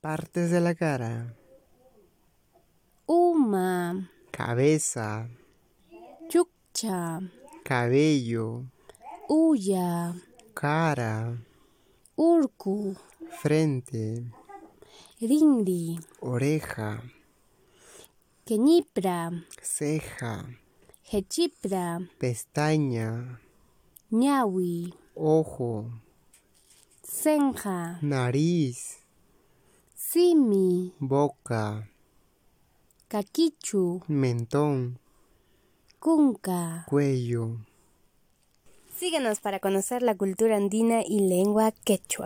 Partes de la cara. Uma, Cabeza. Yucca, Cabello. Uya, Cara. Urku, Frente. Rindi, Oreja. Kenipra, Ceja. Hechipra, Pestaña. Ñawi, Ojo. Senja, Nariz. Simi, Boca. Kakichu, Mentón. Kunka. Cuello. Síguenos para conocer la cultura andina y lengua quechua.